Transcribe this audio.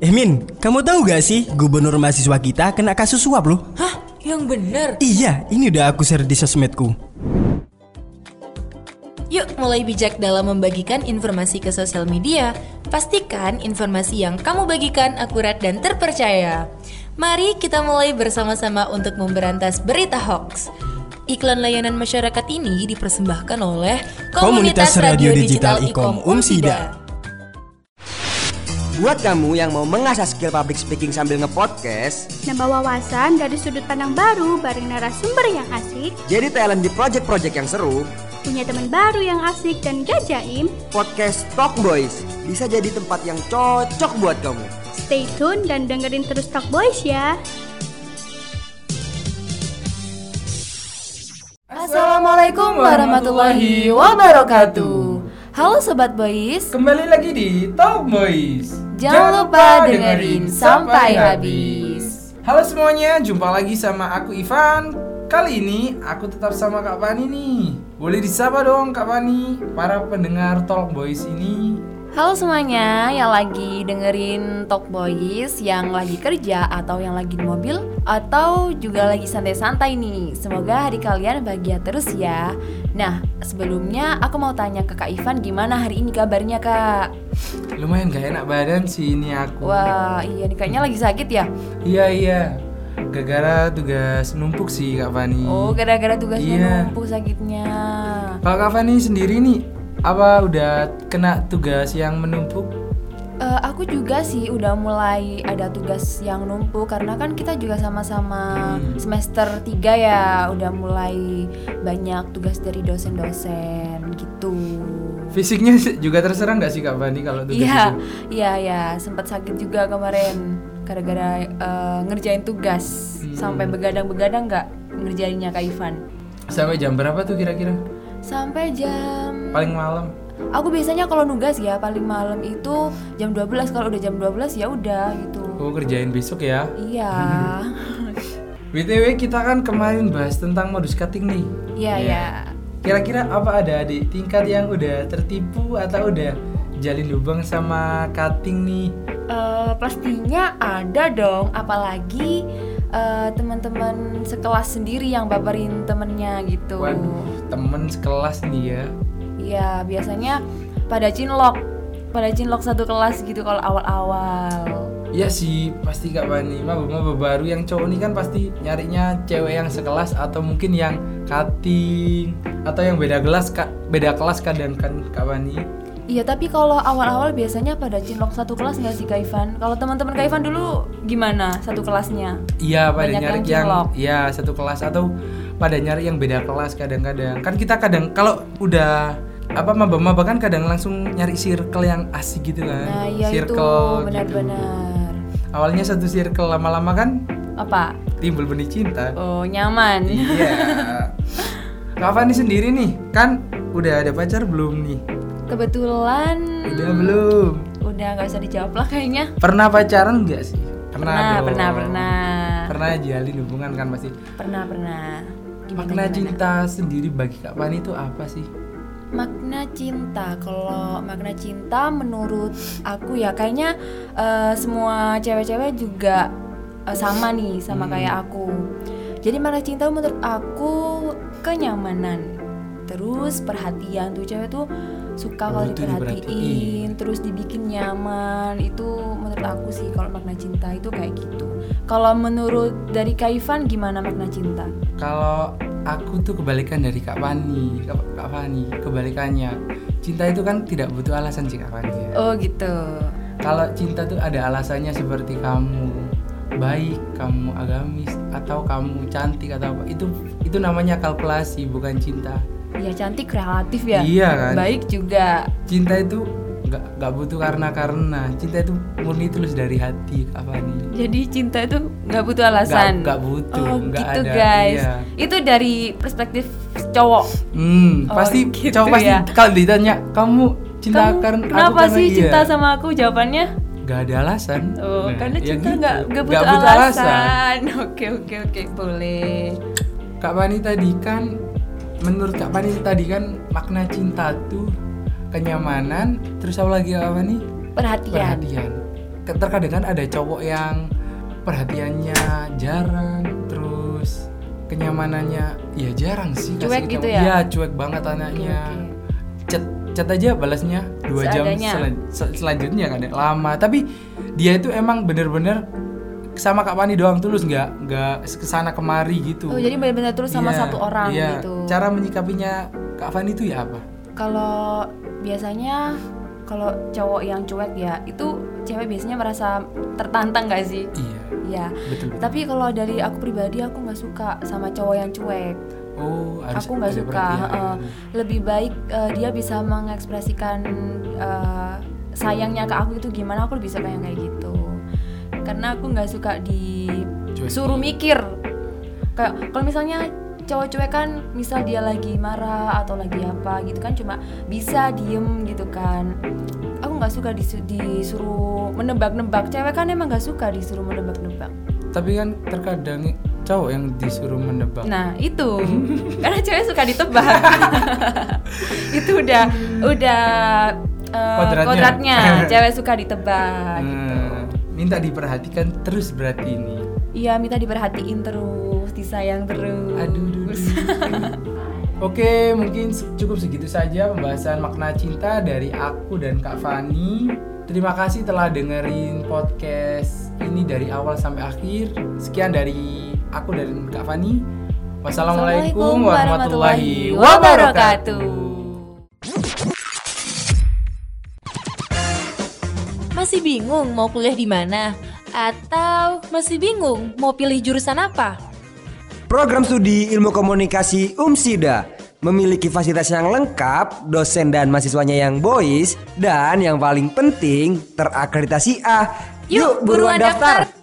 Eh Min, kamu tahu gak sih gubernur mahasiswa kita kena kasus suap loh? Hah? Yang bener? Iya, ini udah aku share di sosmedku. Yuk mulai bijak dalam membagikan informasi ke sosial media. Pastikan informasi yang kamu bagikan akurat dan terpercaya. Mari kita mulai bersama-sama untuk memberantas berita hoax. Iklan layanan masyarakat ini dipersembahkan oleh Komunitas Radio Digital Ikom Umsida. Buat kamu yang mau mengasah skill public speaking sambil ngepodcast, Nambah wawasan dari sudut pandang baru bareng narasumber yang asik, jadi talent di project-project yang seru, punya teman baru yang asik dan gajaim. podcast Talk Boys bisa jadi tempat yang cocok buat kamu. Stay tune dan dengerin terus Talk Boys ya. Assalamualaikum warahmatullahi wabarakatuh. Halo sobat boys, Kembali lagi di Talk Boys. Jangan lupa dengerin sampai habis. Halo semuanya, jumpa lagi sama aku Ivan. Kali ini aku tetap sama Kak Fani nih. Boleh disapa dong Kak Fani, para pendengar Talk Boys ini. halo semuanya yang lagi dengerin Talk Boys, yang lagi kerja atau yang lagi di mobil atau juga lagi santai-santai nih. Semoga hari kalian bahagia terus ya. Nah, sebelumnya aku mau tanya ke Kak Ivan gimana hari ini kabarnya Kak? Lumayan gak enak badan sih ini aku. Wah, iya nih kayaknya lagi sakit ya. Iya iya. Gara-gara tugas numpuk sih Kak Fani. Oh, gara-gara tugasnya Iya. numpuk sakitnya. Kalau Kak Fani sendiri nih, apa udah kena tugas yang menumpuk? Eh, aku juga sih udah mulai ada tugas yang numpuk karena kan kita juga sama-sama Hmm. semester 3 ya udah mulai banyak tugas dari dosen-dosen gitu. Fisiknya juga terserang nggak sih Kak Fani kalau tugas Iya, itu? iya ya, sempat sakit juga kemarin gara-gara eh, ngerjain tugas Hmm. sampai begadang-begadang nggak ngerjainnya Kak Ivan. Sampai jam berapa tuh kira-kira? Sampai jam Paling malam. Aku biasanya kalau nugas ya paling malam itu jam 12 kalau udah jam 12 ya udah gitu. Oh Hmm. kerjain besok ya. Iya. BTW kita kan kemarin bahas tentang modus cutting nih. Iya ya. Kira-kira apa ada adik tingkat yang udah tertipu atau udah jalin lubang sama cutting nih? Eh, pastinya ada dong, apalagi eh, teman-teman sekelas sendiri yang baperin temennya gitu. Waduh, temen sekelas nih ya. Iya, biasanya pada cinlok, pada cinlok satu kelas gitu kalau awal-awal. Iya sih, pasti Kak Fani. Maba-maba baru yang cowok nih kan pasti nyarinya cewek yang sekelas atau mungkin yang cutting atau yang beda kelas Kak- beda kelas kadang kan Kak Fani. Iya, tapi kalau awal-awal biasanya pada cinlok satu kelas nggak sih Kak Ivan? Kalau teman-teman Kak Ivan dulu gimana satu kelasnya? Iya pada Banyak nyari yang yang, cilok. ya satu kelas atau pada nyari yang beda kelas kadang-kadang kan kita kadang kalau udah apa maba-maba kan kadang langsung nyari circle yang asik gitu kan Nah, iya itu circle gitu. benar-benar. awalnya satu circle lama-lama kan Apa? timbul benih cinta Oh, nyaman. iya Kak Fani sendiri nih kan udah ada pacar belum nih Kebetulan udah belum udah nggak usah dijawab lah kayaknya. pernah pacaran nggak sih Pernah, dong. pernah, pernah. pernah jalin hubungan kan pasti Pernah, pernah. Gimana, makna gimana? cinta sendiri bagi Kak Fani itu apa sih Makna cinta. Kalau makna cinta menurut aku ya kayaknya eh, semua cewek-cewek juga eh, sama nih sama Hmm. kayak aku. Jadi makna cinta menurut aku kenyamanan. Terus perhatian tuh cewek tuh suka kalau Oh, itu diperhatiin. diperhatiin, terus dibikin nyaman. Itu menurut aku sih kalau makna cinta itu kayak gitu. Kalau menurut dari Kaifan gimana makna cinta? Kalau aku tuh kebalikan dari Kak Fani, Kak, Kak Fani, kebalikannya. Cinta itu kan tidak butuh alasan sih Kak Fani. ya. Oh gitu. Kalau cinta tuh ada alasannya seperti kamu baik, kamu agamis, atau kamu cantik atau apa. Itu itu namanya kalkulasi bukan cinta. Ya cantik relatif ya. Iya kan? Baik juga. Cinta itu nggak nggak butuh karena karena. Cinta itu murni tulus dari hati Kak Fani. Jadi cinta itu nggak butuh Nggak- alasan. nggak butuh, Oh, nggak gitu ada, guys. iya. Itu dari perspektif cowok. Hmm, Oh, pasti gitu cowok pasti ya. kalau ditanya kamu cinta Kamu karena kenapa aku sih karena cinta iya." sama aku? Jawabannya? Gak ada alasan. Oh, Nah, karena ya cinta gitu. nggak nggak butuh, alasan. Oke oke oke boleh. Kak Pani tadi kan, menurut Kak Pani tadi kan makna cinta tuh kenyamanan. Terus apa lagi Kak Pani? Perhatian. Perhatian. ke- terkadang kan ada cowok yang perhatiannya jarang terus kenyamanannya ya jarang sih kasih Cuek ke gitu cowok. ya? Iya, cuek banget anaknya Oke, chat chat aja balasnya dua jam Seadanya. selan- sel- selanjutnya kan ya, lama tapi dia itu emang bener-bener sama Kak Pani doang tulus nggak nggak kesana kemari gitu Oh jadi benar-benar terus sama Iya, satu orang iya. gitu. cara menyikapinya Kak Fani itu ya apa Kalau biasanya kalau cowok yang cuek ya itu cewek biasanya merasa tertantang gak sih? iya Iya. betul Tapi kalau dari aku pribadi aku nggak suka sama cowok yang cuek. oh harus aku nggak ada suka. perhatian. iya. heeh. lebih baik eh, dia bisa mengekspresikan eh, sayangnya ke aku itu gimana aku lebih suka yang kayak gitu. Karena aku nggak suka Cuekin. disuruh mikir. Kayak kalau misalnya cowok cuek kan misal dia lagi marah atau lagi apa gitu kan cuma bisa diem gitu kan aku nggak suka disu- disuruh menebak-nebak cewek kan emang nggak suka disuruh menebak-nebak tapi kan terkadang cowok yang disuruh menebak Nah itu karena cewek suka ditebak. itu udah udah eh, Kodratnya. kodratnya. cewek suka ditebak. Hmm, minta diperhatikan terus berarti ini Iya minta diperhatiin terus, disayang terus. Aduh, aduh, aduh. Oke, mungkin se- cukup segitu saja pembahasan makna cinta dari aku dan Kak Fani. Terima kasih telah dengerin podcast ini dari awal sampai akhir. Sekian dari aku dan Kak Fani. Wassalamualaikum warahmatullahi wabarakatuh. Masih bingung mau kuliah di mana? Atau masih bingung mau pilih jurusan apa? Program studi Ilmu Komunikasi UMSIDA memiliki fasilitas yang lengkap, dosen dan mahasiswanya yang boys, dan yang paling penting terakreditasi A. Yuk, buruan daftar.